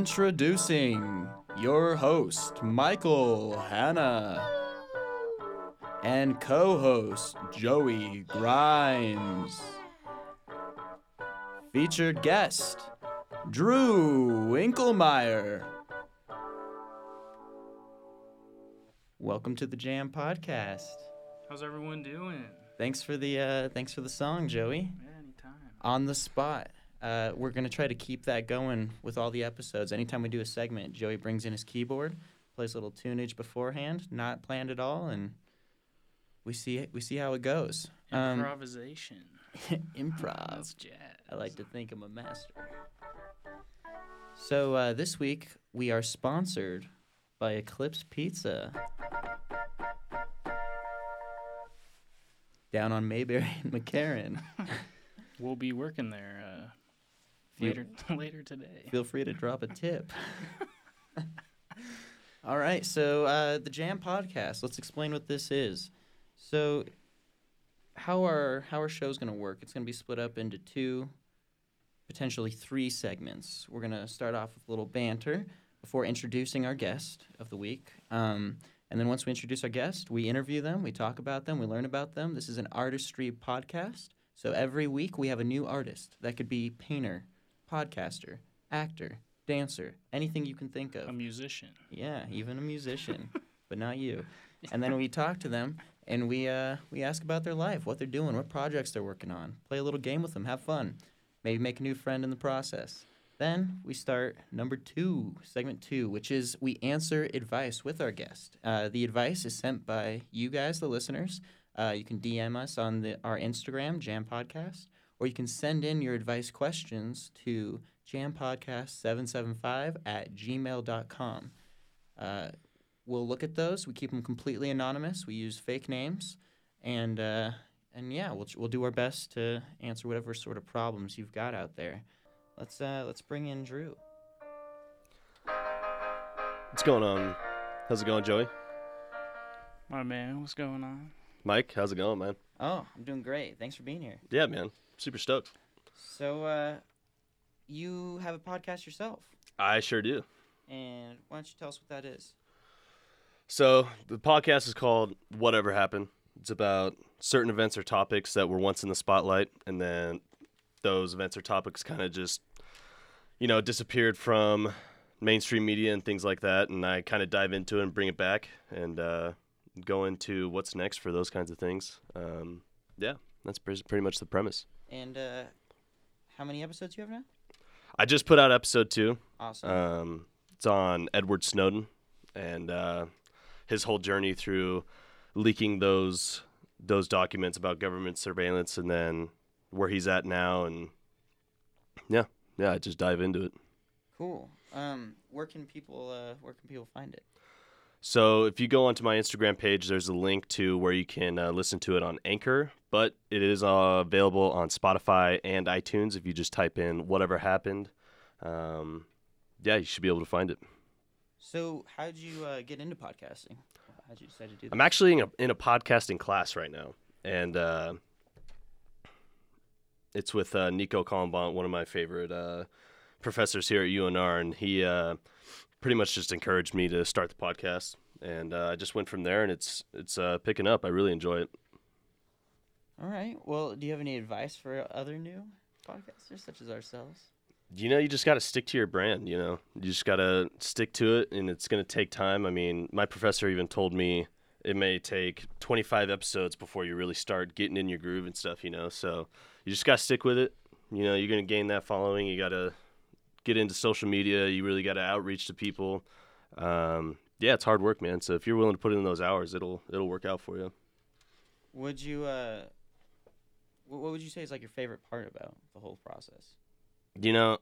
Introducing your host, Michael Hanna, and co host, Joey Grimes. Featured guest, Drew Winkelmeyer. Welcome to the Jam Podcast. How's everyone doing? Thanks for the uh, thanks for the song, Joey. Yeah, anytime. on the spot. Uh, we're gonna try to keep that going with all the episodes. Anytime we do a segment, Joey brings in his keyboard, plays a little tunage beforehand, not planned at all, and we see it, we see how it goes. Um, Improvisation. improv. uh, That's jazz. I like to think I'm a master. So uh, this week we are sponsored by Eclipse Pizza. Down on Mayberry and McCarran. We'll be working there uh, Yep. later later today. feel free to drop a tip. All right, so uh, the Jam Podcast. Let's explain what this is. So, how are how our show's going to work? It's going to be split up into two, potentially three segments. We're going to start off with a little banter before introducing our guest of the week. Um, and then once we introduce our guest, we interview them, we talk about them, we learn about them. This is an artistry podcast. So every week we have a new artist. That could be painter, podcaster, actor, dancer, anything you can think of. A musician. yeah, even a musician, but not you. And then we talk to them and we uh, we ask about their life, what they're doing, what projects they're working on. Play a little game with them, have fun. Maybe make a new friend in the process. Then we start number two, segment two, which is we answer advice with our guest. Uh, the advice is sent by you guys, the listeners. Uh, you can DM us on the, our Instagram, Jam Podcast, or you can send in your advice questions to jampodcast775 at gmail.com. Uh, we'll look at those. We keep them completely anonymous. We use fake names, and uh, and yeah, we'll we'll do our best to answer whatever sort of problems you've got out there. Let's uh, let's bring in Drew. What's going on? How's it going, Joey? My man, what's going on? Mike, how's it going, man? Oh, I'm doing great. Thanks for being here. Yeah, man. Super stoked. So, uh, you have a podcast yourself, I sure do. and why don't you tell us what that is? So, the podcast is called Whatever Happened. It's about certain events or topics that were once in the spotlight, and then those events or topics kind of just, you know, disappeared from mainstream media and things like that. And I kind of dive into it and bring it back and uh, go into what's next for those kinds of things. Um, yeah, that's pres- pretty much the premise. And uh, how many episodes you have now? I just put out episode two. Awesome. Um, it's on Edward Snowden and uh, his whole journey through leaking those those documents about government surveillance, and then where he's at now, and yeah, yeah, I just dive into it. cool. Um, where can people uh, where can people find it? So if you go onto my Instagram page, there's a link to where you can uh, listen to it on Anchor, but it is uh, available on Spotify and iTunes if you just type in whatever happened. Um, yeah, you should be able to find it. So, how'd you uh, get into podcasting? How'd you decide to do that? I'm actually in a, in a podcasting class right now, and uh, it's with uh, Nico Kalmbont, one of my favorite uh, professors here at UNR, and he uh, pretty much just encouraged me to start the podcast, and uh, I just went from there, and it's it's uh, picking up. I really enjoy it. All right. Well, do you have any advice for other new podcasters such as ourselves? You know, you just got to stick to your brand. You know, you just got to stick to it, and it's going to take time. I mean, my professor even told me it may take 25 episodes before you really start getting in your groove and stuff. You know, so you just got to stick with it. You know, you're going to gain that following. You got to get into social media. You really got to outreach to people. Um, yeah, it's hard work, man. So if you're willing to put in those hours, it'll it'll work out for you. Would you uh wh- what would you say is like your favorite part about the whole process? you know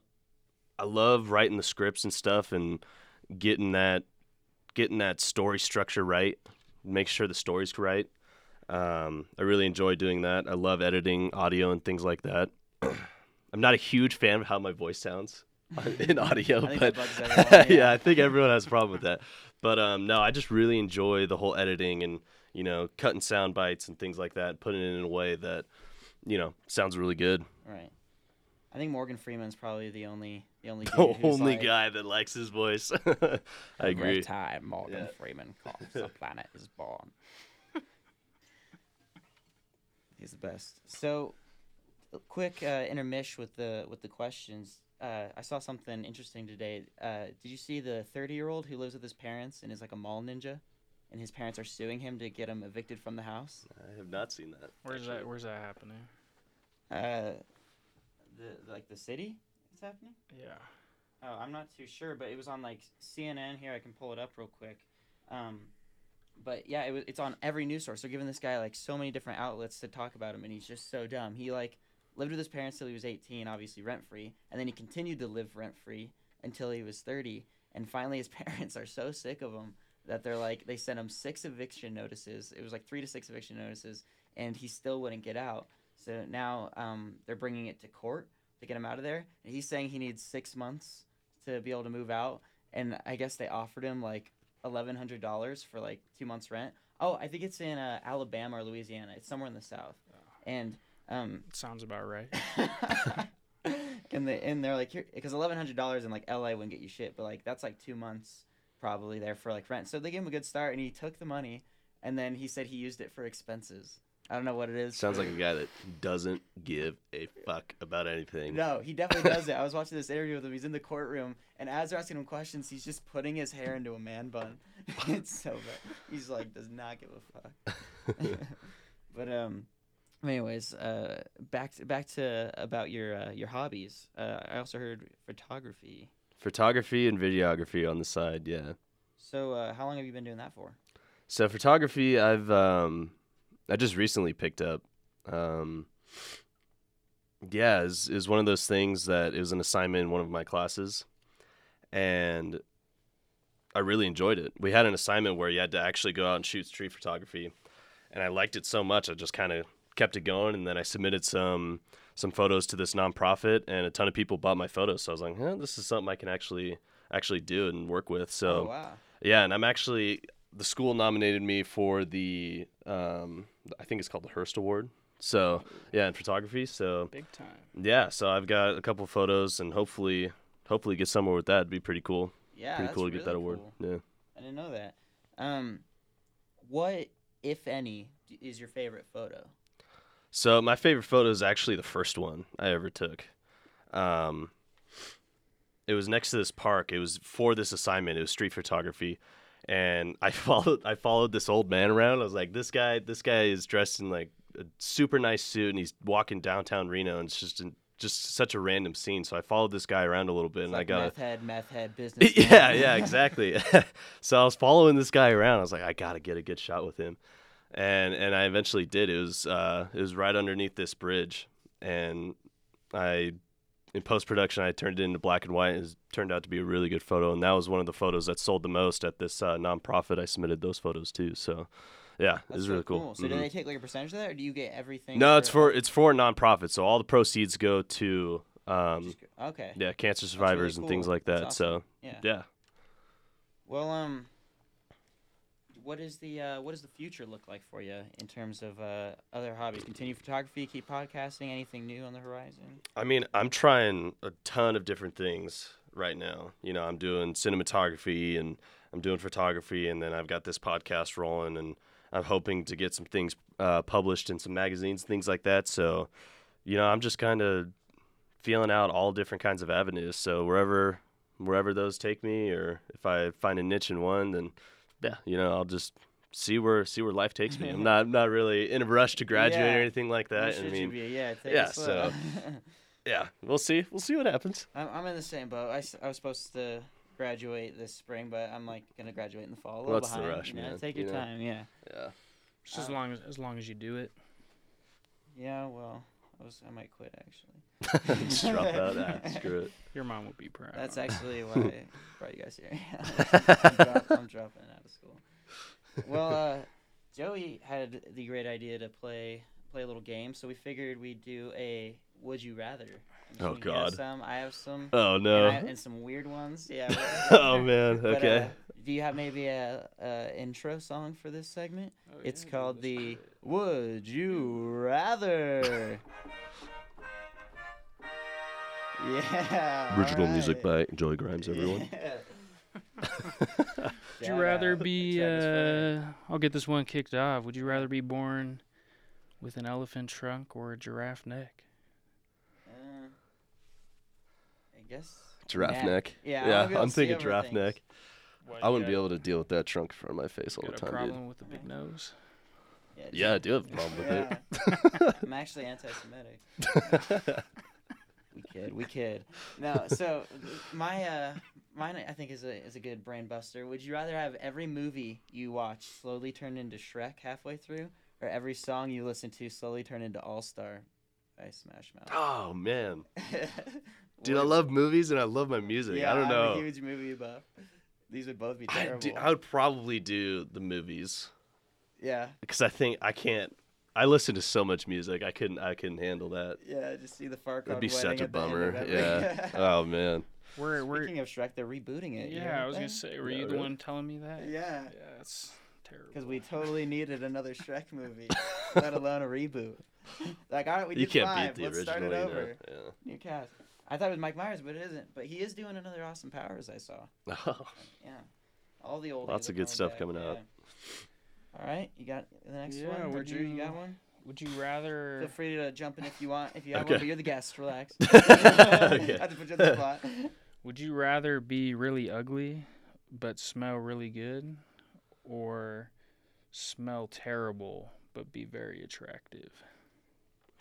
i love writing the scripts and stuff and getting that getting that story structure right make sure the story's right um, i really enjoy doing that i love editing audio and things like that i'm not a huge fan of how my voice sounds in audio I think but that bugs everyone, yeah. yeah i think everyone has a problem with that but um, no i just really enjoy the whole editing and you know cutting sound bites and things like that putting it in a way that you know sounds really good Right. I I think Morgan Freeman's probably the only the only The dude who's only like, guy that likes his voice. I "Every agree. time Morgan Yeah. Freeman coughs, the planet is born. He's the best. So, a quick uh, intermish with the with the questions. Uh, I saw something interesting today. Uh, did you see the thirty year old who lives with his parents and is like a mall ninja, and his parents are suing him to get him evicted from the house? I have not seen that. Where's actually. that? Where's that happening? Uh, the like the city it's happening. Yeah. Oh, I'm not too sure, but it was on like CNN. Here, I can pull it up real quick. Um, but yeah, it was. It's on every news source. They're giving this guy like so many different outlets to talk about him, and he's just so dumb. He like lived with his parents till he was 18, obviously rent free, and then he continued to live rent free until he was 30. And finally, his parents are so sick of him that they're like they sent him six eviction notices. It was like three to six eviction notices, and he still wouldn't get out. So now um, they're bringing it to court to get him out of there. And he's saying he needs six months to be able to move out. And I guess they offered him like eleven hundred dollars for like two months rent. Oh, I think it's in uh, Alabama or Louisiana. It's somewhere in the South. And um, Sounds about right. and they and they're like here because eleven hundred dollars in like LA wouldn't get you shit, but like that's like two months probably there for like rent. So they gave him a good start, and he took the money, and then he said he used it for expenses. I don't know what it is. Sounds for- like a guy that doesn't give a fuck about anything. No, he definitely does it. I was watching this interview with him. He's in the courtroom, and as they're asking him questions, he's just putting his hair into a man bun. it's so bad. He's like, does not give a fuck. but um, anyways, uh, back to, back to about your uh, your hobbies. Uh, I also heard photography. Photography and videography on the side, yeah. So uh, how long have you been doing that for? So photography, I've um, I just recently picked up. Um, yeah, is is one of those things that it was an assignment in one of my classes, and I really enjoyed it. We had an assignment where you had to actually go out and shoot street photography, and I liked it so much I just kind of kept it going. And then I submitted some some photos to this nonprofit, and a ton of people bought my photos. So I was like, huh, this is something I can actually actually do and work with. So. Oh wow, Yeah, and I'm actually the school nominated me for the um, I think it's called the Hearst Award. So yeah, in photography. So Big time. yeah, so I've got a couple photos and hopefully hopefully get somewhere with that. It'd be pretty cool. yeah, pretty that's cool to get really that award. cool. Yeah. I didn't know that. Um, what if any d- is your favorite photo? So my favorite photo is actually the first one I ever took. Um, it was next to this park. It was for this assignment. It was street photography, and I followed I followed this old man around. I was like, this guy this guy is dressed in like a super nice suit, and he's walking downtown Reno, and it's just in, just such a random scene. So I followed this guy around a little bit, It's and like I got a, meth head, meth head business. yeah, yeah, exactly. so I was following this guy around. I was like, I gotta get a good shot with him, and and I eventually did. It was uh, it was right underneath this bridge, and I in post production I turned it into black and white. It was- turned out to be a really good photo, and that was one of the photos that sold the most at this uh, nonprofit. I submitted those photos too. So yeah, it That's was so really cool. So Mhm. do they take like a percentage of that, or do you get everything? no, it's uh, for it's for a nonprofit, so all the proceeds go to um, Just go- okay. yeah cancer survivors and things cool. like that. That's So Yeah. yeah. Well, um, what is the uh, what does the future look like for you in terms of uh, other hobbies? Continue photography, keep podcasting. Anything new on the horizon? I mean, I'm trying a ton of different things right now. You know, I'm doing cinematography and I'm doing photography, and then I've got this podcast rolling, and I'm hoping to get some things uh, published in some magazines, things like that. So, you know, I'm just kind of feeling out all different kinds of avenues. So wherever wherever those take me, or if I find a niche in one, then yeah, you know, I'll just see where see where life takes me. I'm not I'm not really in a rush to graduate Yeah. or anything like Where that. I should you mean, be? Yeah. Take it yeah, slow. so- yeah, we'll see. We'll see what happens. I'm, I'm in the same boat. I, s- I was supposed to graduate this spring, but I'm like gonna graduate in the fall. A little What's the behind, rush, you know? man? Take your You know? time. Yeah. Yeah. Just Uh, as Um, long as as long as you do it. Yeah. Well, I was I might quit actually. Just drop out. Ah, screw it. Your mom would be proud. That's actually why I brought you guys here. I'm, drop, I'm dropping out of school. Well, uh, Joey had the great idea to play play a little game, so we figured we'd do a Would You Rather. I'm just Oh, gonna guess God. Some I have some, Oh and, no. I- and some weird ones. Yeah. we're- oh man. but, Okay. uh, do you have maybe a, a intro song for this segment? Oh, It's yeah, called the dude, Would You Rather. Yeah. uh, all Original music right. by Joey Grimes, everyone. Yeah. Would you Shout rather out. be? Travis Frederick. Uh, I'll get this one kicked off. Would you rather be born with an elephant trunk or a giraffe neck? Uh, I guess. Giraffe neck. Yeah, I Yeah, wanna be able I'm to see thinking over giraffe things. neck. I wouldn't be able to deal with that trunk in front of my face all Got the a time, dude. problem with the big nose. Yeah. Yeah, I do have a problem with it. Yeah. I'm actually anti-Semitic. we kid, we kid. No, so my uh, mine I think is a is a good brain buster. Would you rather have every movie you watch slowly turn into Shrek halfway through, or every song you listen to slowly turn into All Star by Smash Mouth? Oh man, dude, I What- love movies and I love my music. Yeah, I don't I'm a know. huge movie buff. These would both be I, terrible. do, I would probably do the movies yeah, because I think I can't. I listen to so much music. I couldn't. I couldn't handle that. yeah. Just see the far. That'd be such a bummer. Yeah. oh man. We're we're Speaking of Shrek, they're rebooting it. you yeah. I heard was gonna that? say, were Yeah, you the really. one telling me that? Yeah. Yeah, that's terrible. Because we totally needed another Shrek movie, let alone a reboot. like, all right, we did you can't five. beat the Let's original. start it you know? over. New cast. I thought it was Mike Myers, but it isn't. But he is doing another Austin Powers. I saw. Yeah. Yeah, all the old. Lots of good stuff coming out. All right, you got the next Yeah, one. Or would Drew, you... you- got one? Would you Feel rather? free to jump in if you want. If you have Okay. one, but you're the guest. Relax. Okay. I have to put you on the spot. Would you rather be really ugly, but smell really good, or smell terrible but be very attractive?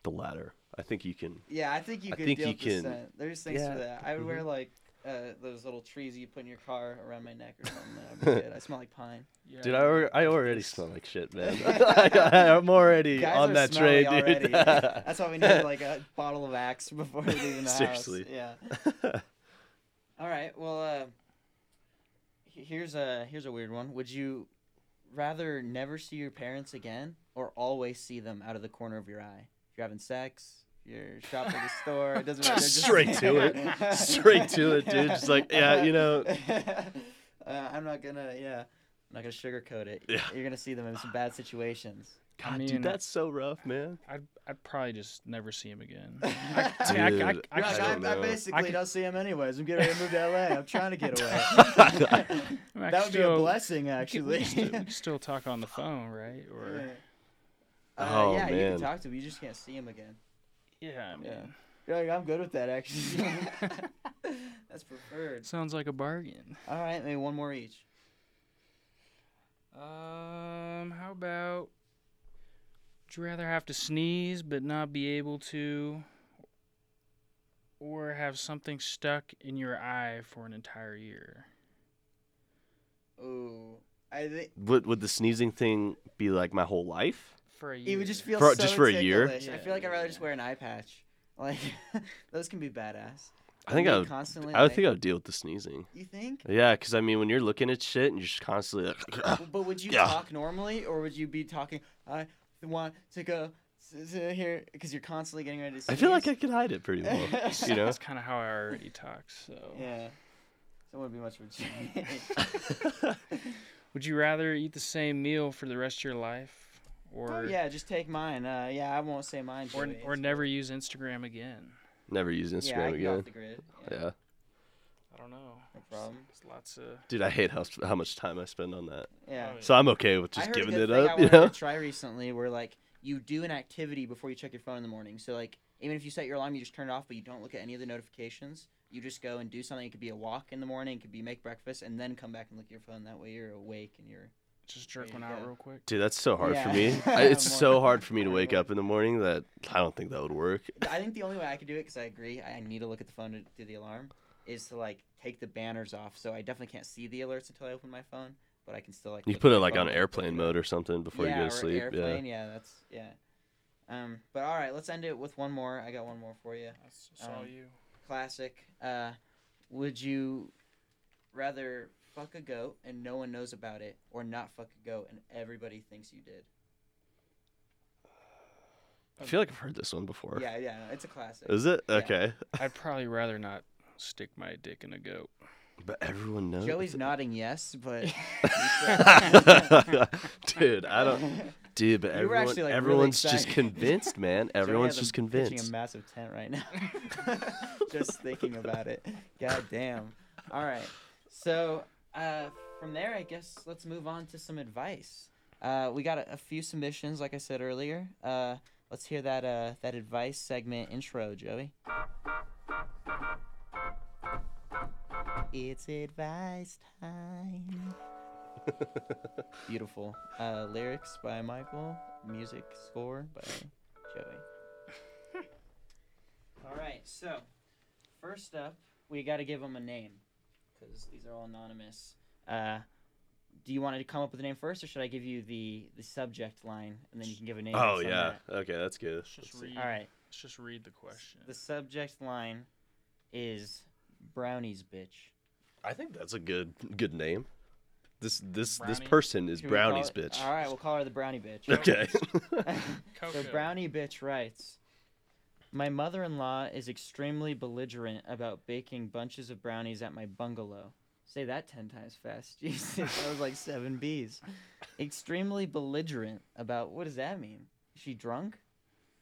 The latter. I think you can. Yeah, I think you I could think deal you with the can- Mm-hmm. scent. There's things Yeah. for that. I would wear like uh, those little trees you put in your car around my neck or something. That would be good. I smell like pine. Yeah, Dude, I, alre- I already smell like shit, man. I, am already Guys on are that smelly train, already. dude. That's why we need like a bottle of Axe before we leave the Seriously. house. Yeah. All right. Well, uh, he- here's a here's a weird one. Would you rather never see your parents again, or always see them out of the corner of your eye? If you're having sex, you're shopping at the store. It doesn't matter. just- Straight to it. Straight to it, dude. Just like, yeah, you know. Uh, I'm not gonna. Yeah. I'm not gonna sugarcoat it. Yeah. You're gonna see them in some bad situations. God, mean- dude, that's so rough, man. I'd, I'd probably just never see him again. Dude, See, I- I- I You're just like, don't I, I, know. basically I could- don't see him anyways. I'm getting ready to move to LA. I'm trying to get away. I mean, I that would could be a still- blessing, we could- actually. we, could still, we could still talk on the phone, right? Or Uh, Oh, yeah, you man. can talk to him. You just can't see him again. yeah, I mean, Yeah. You're like, I'm good with that, actually. That's preferred. sounds like a bargain. All right, maybe one more each. Um, how about would you rather have to sneeze but not be able to, or have something stuck in your eye for an entire year? Ooh. I think Would, would the sneezing thing be like my whole life? For a year. it would just feel For- so just for a year? ticklish. I Yeah, feel like I'd yeah, rather yeah. just wear an eye patch. Like, those can be badass. I think You're I would. constantly. I would like- think I would deal with the sneezing. You think? Yeah, because I mean, when you're looking at shit and you're just constantly like, But would you Yeah. talk normally, or would you be talking? I want to go s- s- here because you're constantly getting ready to. I feel like I sneeze? could hide it pretty well. You know, That's kind of how I already talk. So, Yeah. So it wouldn't be much of a change. would you rather eat the same meal for the rest of your life, or Oh, yeah, just take mine. Uh, yeah, I won't say mine. or, Joey. or never use Instagram again? never use yeah, I Instagram can go off again. the grid. Yeah, Yeah, I don't know. no problem. There's lots of dude, I hate how sp- how much time I spend on that. Yeah. Oh, So I'm okay with I just heard a giving good it thing I up. You wanted know, to try recently where like you do an activity before you check your phone in the morning. So like even if you set your alarm, you just turn it off, but you don't look at any of the notifications. You just go and do something. It could be a walk in the morning. It could be make breakfast, and then come back and look at your phone. That way you're awake and you're. just jerk you one out go. real quick. dude, that's so hard for me. Yeah. I, it's so More- hard for me to more wake work. up in the morning that I don't think that would work. I think the only way I could do it, because I agree, I need to look at the phone to do the alarm, is to like take the banners off. So I definitely can't see the alerts until I open my phone, but I can still like. You look put at it my like phone on and look at airplane it. mode or something before yeah, you or go to sleep. Yeah. Airplane, yeah. that's yeah. Um, but all right, let's end it with one more. I got one more for you. That's, all Um, you. Classic. Uh, would you rather fuck a goat and no one knows about it, or not fuck a goat and everybody thinks you did? I feel like I've heard this one before. Yeah, yeah, no, it's a classic. Is it Yeah. okay? I'd probably rather not stick my dick in a goat. But everyone knows. Joey's nodding yes, but. Dude, I don't. did, but were everyone, actually, like, really everyone's just excited. convinced, man. Joey Everyone's has a- just Pitching a convinced. massive tent right now. just thinking about it. God damn. All right. So uh, from there, I guess let's move on to some advice. Uh, we got a, a few submissions, like I said earlier. Uh, let's hear that uh, that advice segment intro, Joey. It's advice time. Beautiful. Uh, lyrics by Michael. Music score by Joey. all right. So, first up, we got to give them a name because these are all anonymous. Uh, do you want to come up with a name first, or should I give you the the subject line and then you can give a name? Oh based on yeah. Okay, that's good. Let's just Let's see. read. that? All right. Let's just read the question. The subject line is brownies, bitch. I think that's a good good name. This this Brownie? this person is Should we call brownies, it- bitch. All right, we'll call her the brownie bitch. Okay. So Coco. Brownie Bitch writes My mother in law is extremely belligerent about baking bunches of brownies at my bungalow. Say that 10 times fast. Jesus, that was like seven B's. Extremely belligerent about what does that mean? Is she drunk?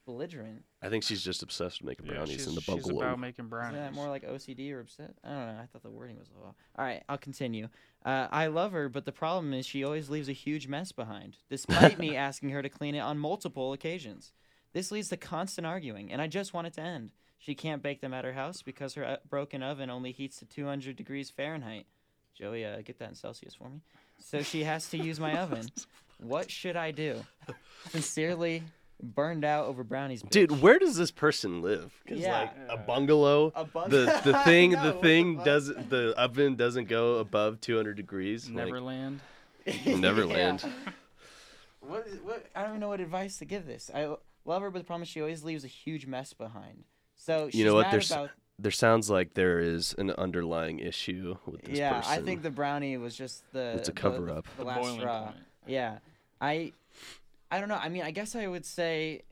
Belligerent? I think she's just obsessed with making Yeah, brownies she's, in the She's about bungalow. making Isn't brownies. that more like OCD or upset? I don't know. I thought the wording was a little. All right, I'll continue. Uh, I love her, but the problem is she always leaves a huge mess behind, despite me asking her to clean it on multiple occasions. This leads to constant arguing, and I just want it to end. She can't bake them at her house because her uh, broken oven only heats to 200 degrees Fahrenheit. Joey, uh, get that in Celsius for me. So she has to use my oven. What should I do? Sincerely, burned out over brownies. Bitch. Dude, where does this person live? 'Cause, Yeah. like a bungalow, A bung- the the I thing know, the what the thing fuck? doesn't the oven doesn't go above 200 degrees. like- Neverland. Neverland. What, is- what? I don't even know what advice to give this. I love her, but the problem is she always leaves a huge mess behind. So she's you know what? mad There's about. there sounds like there is an underlying issue with this Yeah, person. I think the brownie was just the. It's a the- cover-up. The, The last boiling straw. point. Yeah, I, I don't know. I mean, I guess I would say,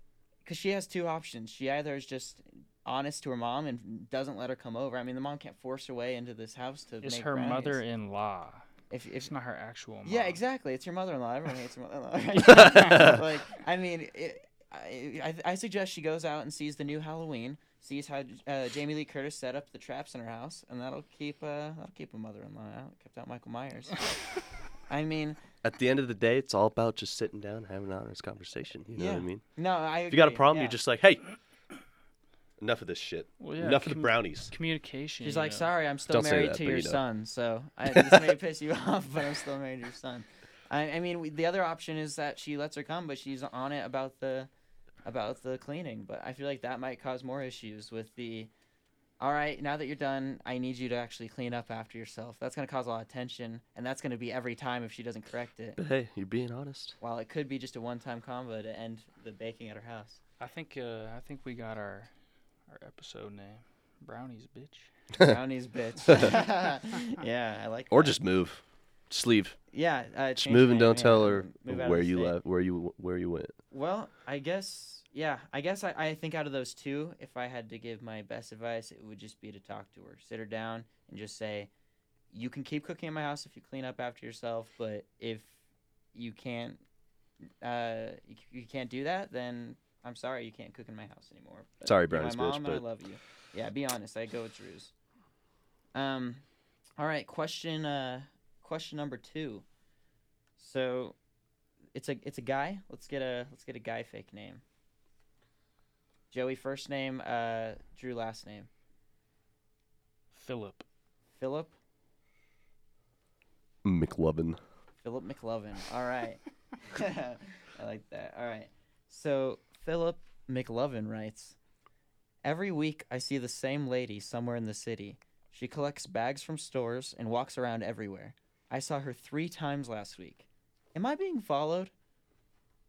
because she has two options. She either is just honest to her mom and doesn't let her come over. I mean, the mom can't force her way into this house to. It's make her brownies. mother-in-law. If if It's not her actual mom. Yeah, exactly. It's your mother-in-law. Everyone hates your mother-in-law. right? like, I mean, it, I, I I suggest she goes out and sees the new Halloween, sees how uh, Jamie Lee Curtis set up the traps in her house, and that'll keep uh, that'll keep a mother-in-law out. Kept out Michael Myers. I mean, At the end of the day, it's all about just sitting down, and having an honest conversation. You know what Yeah. I mean? no, I. If you got a agree, problem, yeah. you're just like, hey, enough of this shit. Well, yeah, enough of the commu- brownies. Communication. She's you like, know. sorry, I'm still Don't say married that, to but your you know. son. So I, this may piss you off, but I'm still married to your son. I, I mean, we, the other option is that she lets her come, but she's on it about the about the cleaning. But I feel like that might cause more issues with the. All right, now that you're done, I need you to actually clean up after yourself. That's gonna cause a lot of tension, and that's gonna be every time if she doesn't correct it. But hey, you're being honest. While it could be just a one-time combo to end the baking at her house. I think uh, I think we got our our episode name. Brownies, bitch. Brownies, bitch. yeah, I like. Or that. just move, just leave, yeah, uh, just change move your and name, don't yeah, tell her move out of where the you state. left, where you where you went. Well, I guess yeah. I guess I, I think out of those two, if I had to give my best advice, it would just be to talk to her, sit her down, and just say, "You can keep cooking in my house if you clean up after yourself, but if you can't, uh, you, c- you can't do that, then I'm sorry, you can't cook in my house anymore." But Sorry, you're brownies, bitch, my mom, and I but- love you. Yeah, be honest. I go with Drew's. Um, all right. Question. Uh, question number two. So, it's a it's a guy. Let's get a let's get a guy fake name. Joey first name. Uh, Drew last name. Philip. Philip. McLovin. Philip McLovin. All right. I like that. All right. So Philip McLovin writes Every week I see the same lady somewhere in the city. She collects bags from stores and walks around everywhere. I saw her three times last week. Am I being followed?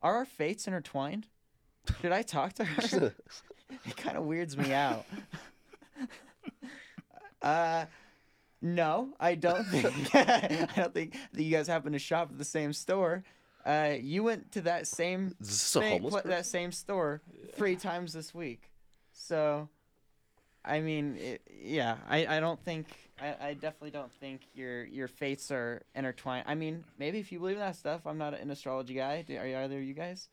Are our fates intertwined? Should I talk to her? it kind of weirds me out. uh, no, I don't think. I don't think that you guys happen to shop at the same store. Uh, you went to that same Is this a thing- homeless pla- person? that same store three times this week. So, I mean, it, yeah, I, I don't think I, I definitely don't think your your faiths are intertwined. I mean, maybe if you believe in that stuff. I'm not an astrology guy. Do, are you, either of you guys?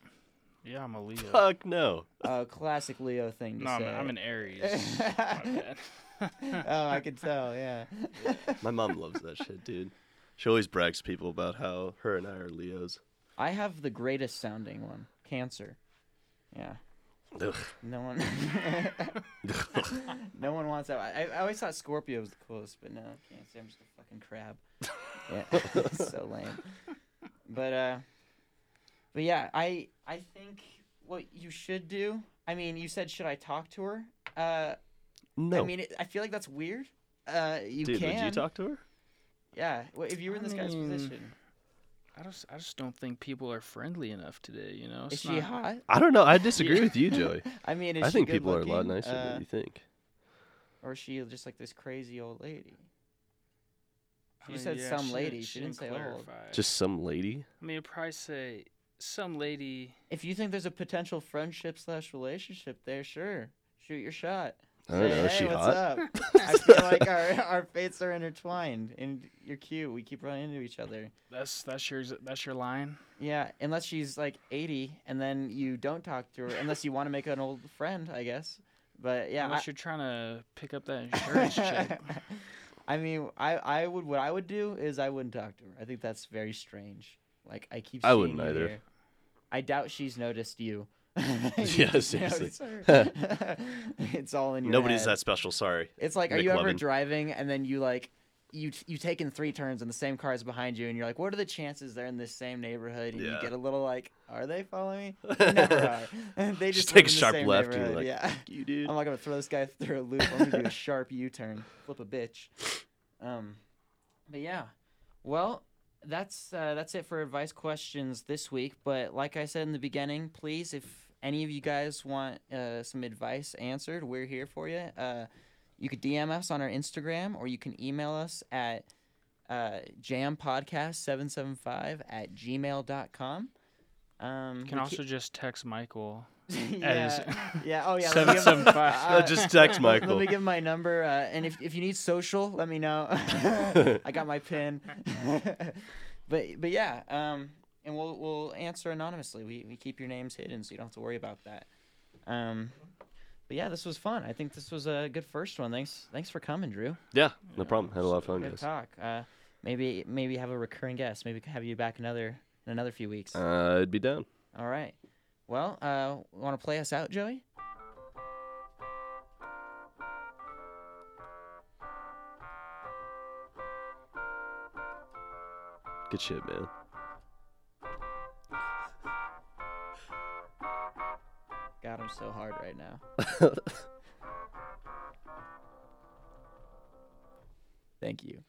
Yeah, I'm a Leo. Fuck no. Uh, classic Leo thing to no, I'm, say. I'm an Aries. My bad. oh, I could tell. Yeah. My mom loves that shit, dude. She always brags to people about how her and I are Leos. I have the greatest sounding one. Cancer. Yeah. Ugh. No one. no one wants that. I, I always thought Scorpio was the coolest, but no, Cancer. I'm just a fucking crab. Yeah. so lame. But uh, but yeah, I I think what you should do. I mean, you said should I talk to her? Uh, no. I mean, it, I feel like that's weird. Uh, you dude, can. would you talk to her? Yeah. Well, if you were in I this guy's mean, position, I just, I just don't think people are friendly enough today. You know, is It's she not- hot? I don't know. I disagree with you, Joey. I mean, is I she think good people are a lot looking? nicer Uh, than you think. or is she just like this crazy old lady? I She mean, said yeah, some she lady. Didn't, She didn't say old. clarify. Just some lady. I mean, you'd probably say some lady. If you think there's a potential friendship slash relationship there, sure, shoot your shot. I Say, don't know. Is "Hey, she what's hot? up? I feel like our our fates are intertwined, and you're cute. We keep running into each other. That's that's your that's your line. Yeah, unless she's like 80, and then you don't talk to her, unless you want to make an old friend, I guess. But yeah, I- Unless you're trying to pick up that insurance check. I mean, I, I would what I would do is I wouldn't talk to her. I think that's very strange. Like I keep. I seeing wouldn't you either. here. I doubt she's noticed you. Yeah, You seriously. notice her. it's all in your. Nobody's head. that special. Sorry. It's like, are you ever McLovin. driving and then you like, you t- you taken three turns and the same car is behind you and you're like, what are the chances they're in this same neighborhood? And you Yeah. get a little like, are they following me? They never are. they just, Just live in take a the sharp same left. And you're neighborhood, like, yeah. "Fuck you, dude. I'm not gonna throw this guy through a loop. I'm gonna do a sharp U-turn, flip a bitch. Um, but yeah, well, that's uh, that's it for advice questions this week. But like I said in the beginning, please, if any of you guys want uh, some advice answered, we're here for you. Uh, you could DM us on our Instagram, or you can email us at uh, jampodcast775 at gmail.com. Um, You we can ca- also just text Michael. as- yeah, yeah, oh yeah, let me Seven give- seven five. Uh, Uh, just text let- Michael. Let me give my number, uh, and if, if you need social, let me know. I got my pin. but but yeah, um, and we'll we'll answer anonymously. We we keep your names hidden, so you don't have to worry about that. Um, but yeah, this was fun. I think this was a good first one. Thanks thanks for coming, Drew. yeah, no problem. Had a lot of fun, Good guys. talk. Uh, maybe maybe have a recurring guest. Maybe have you back another in another few weeks. Uh, I'd be down. All right. Well, uh, want to play us out, Joey? Good shit, man. God, I'm so hard right now. Thank you.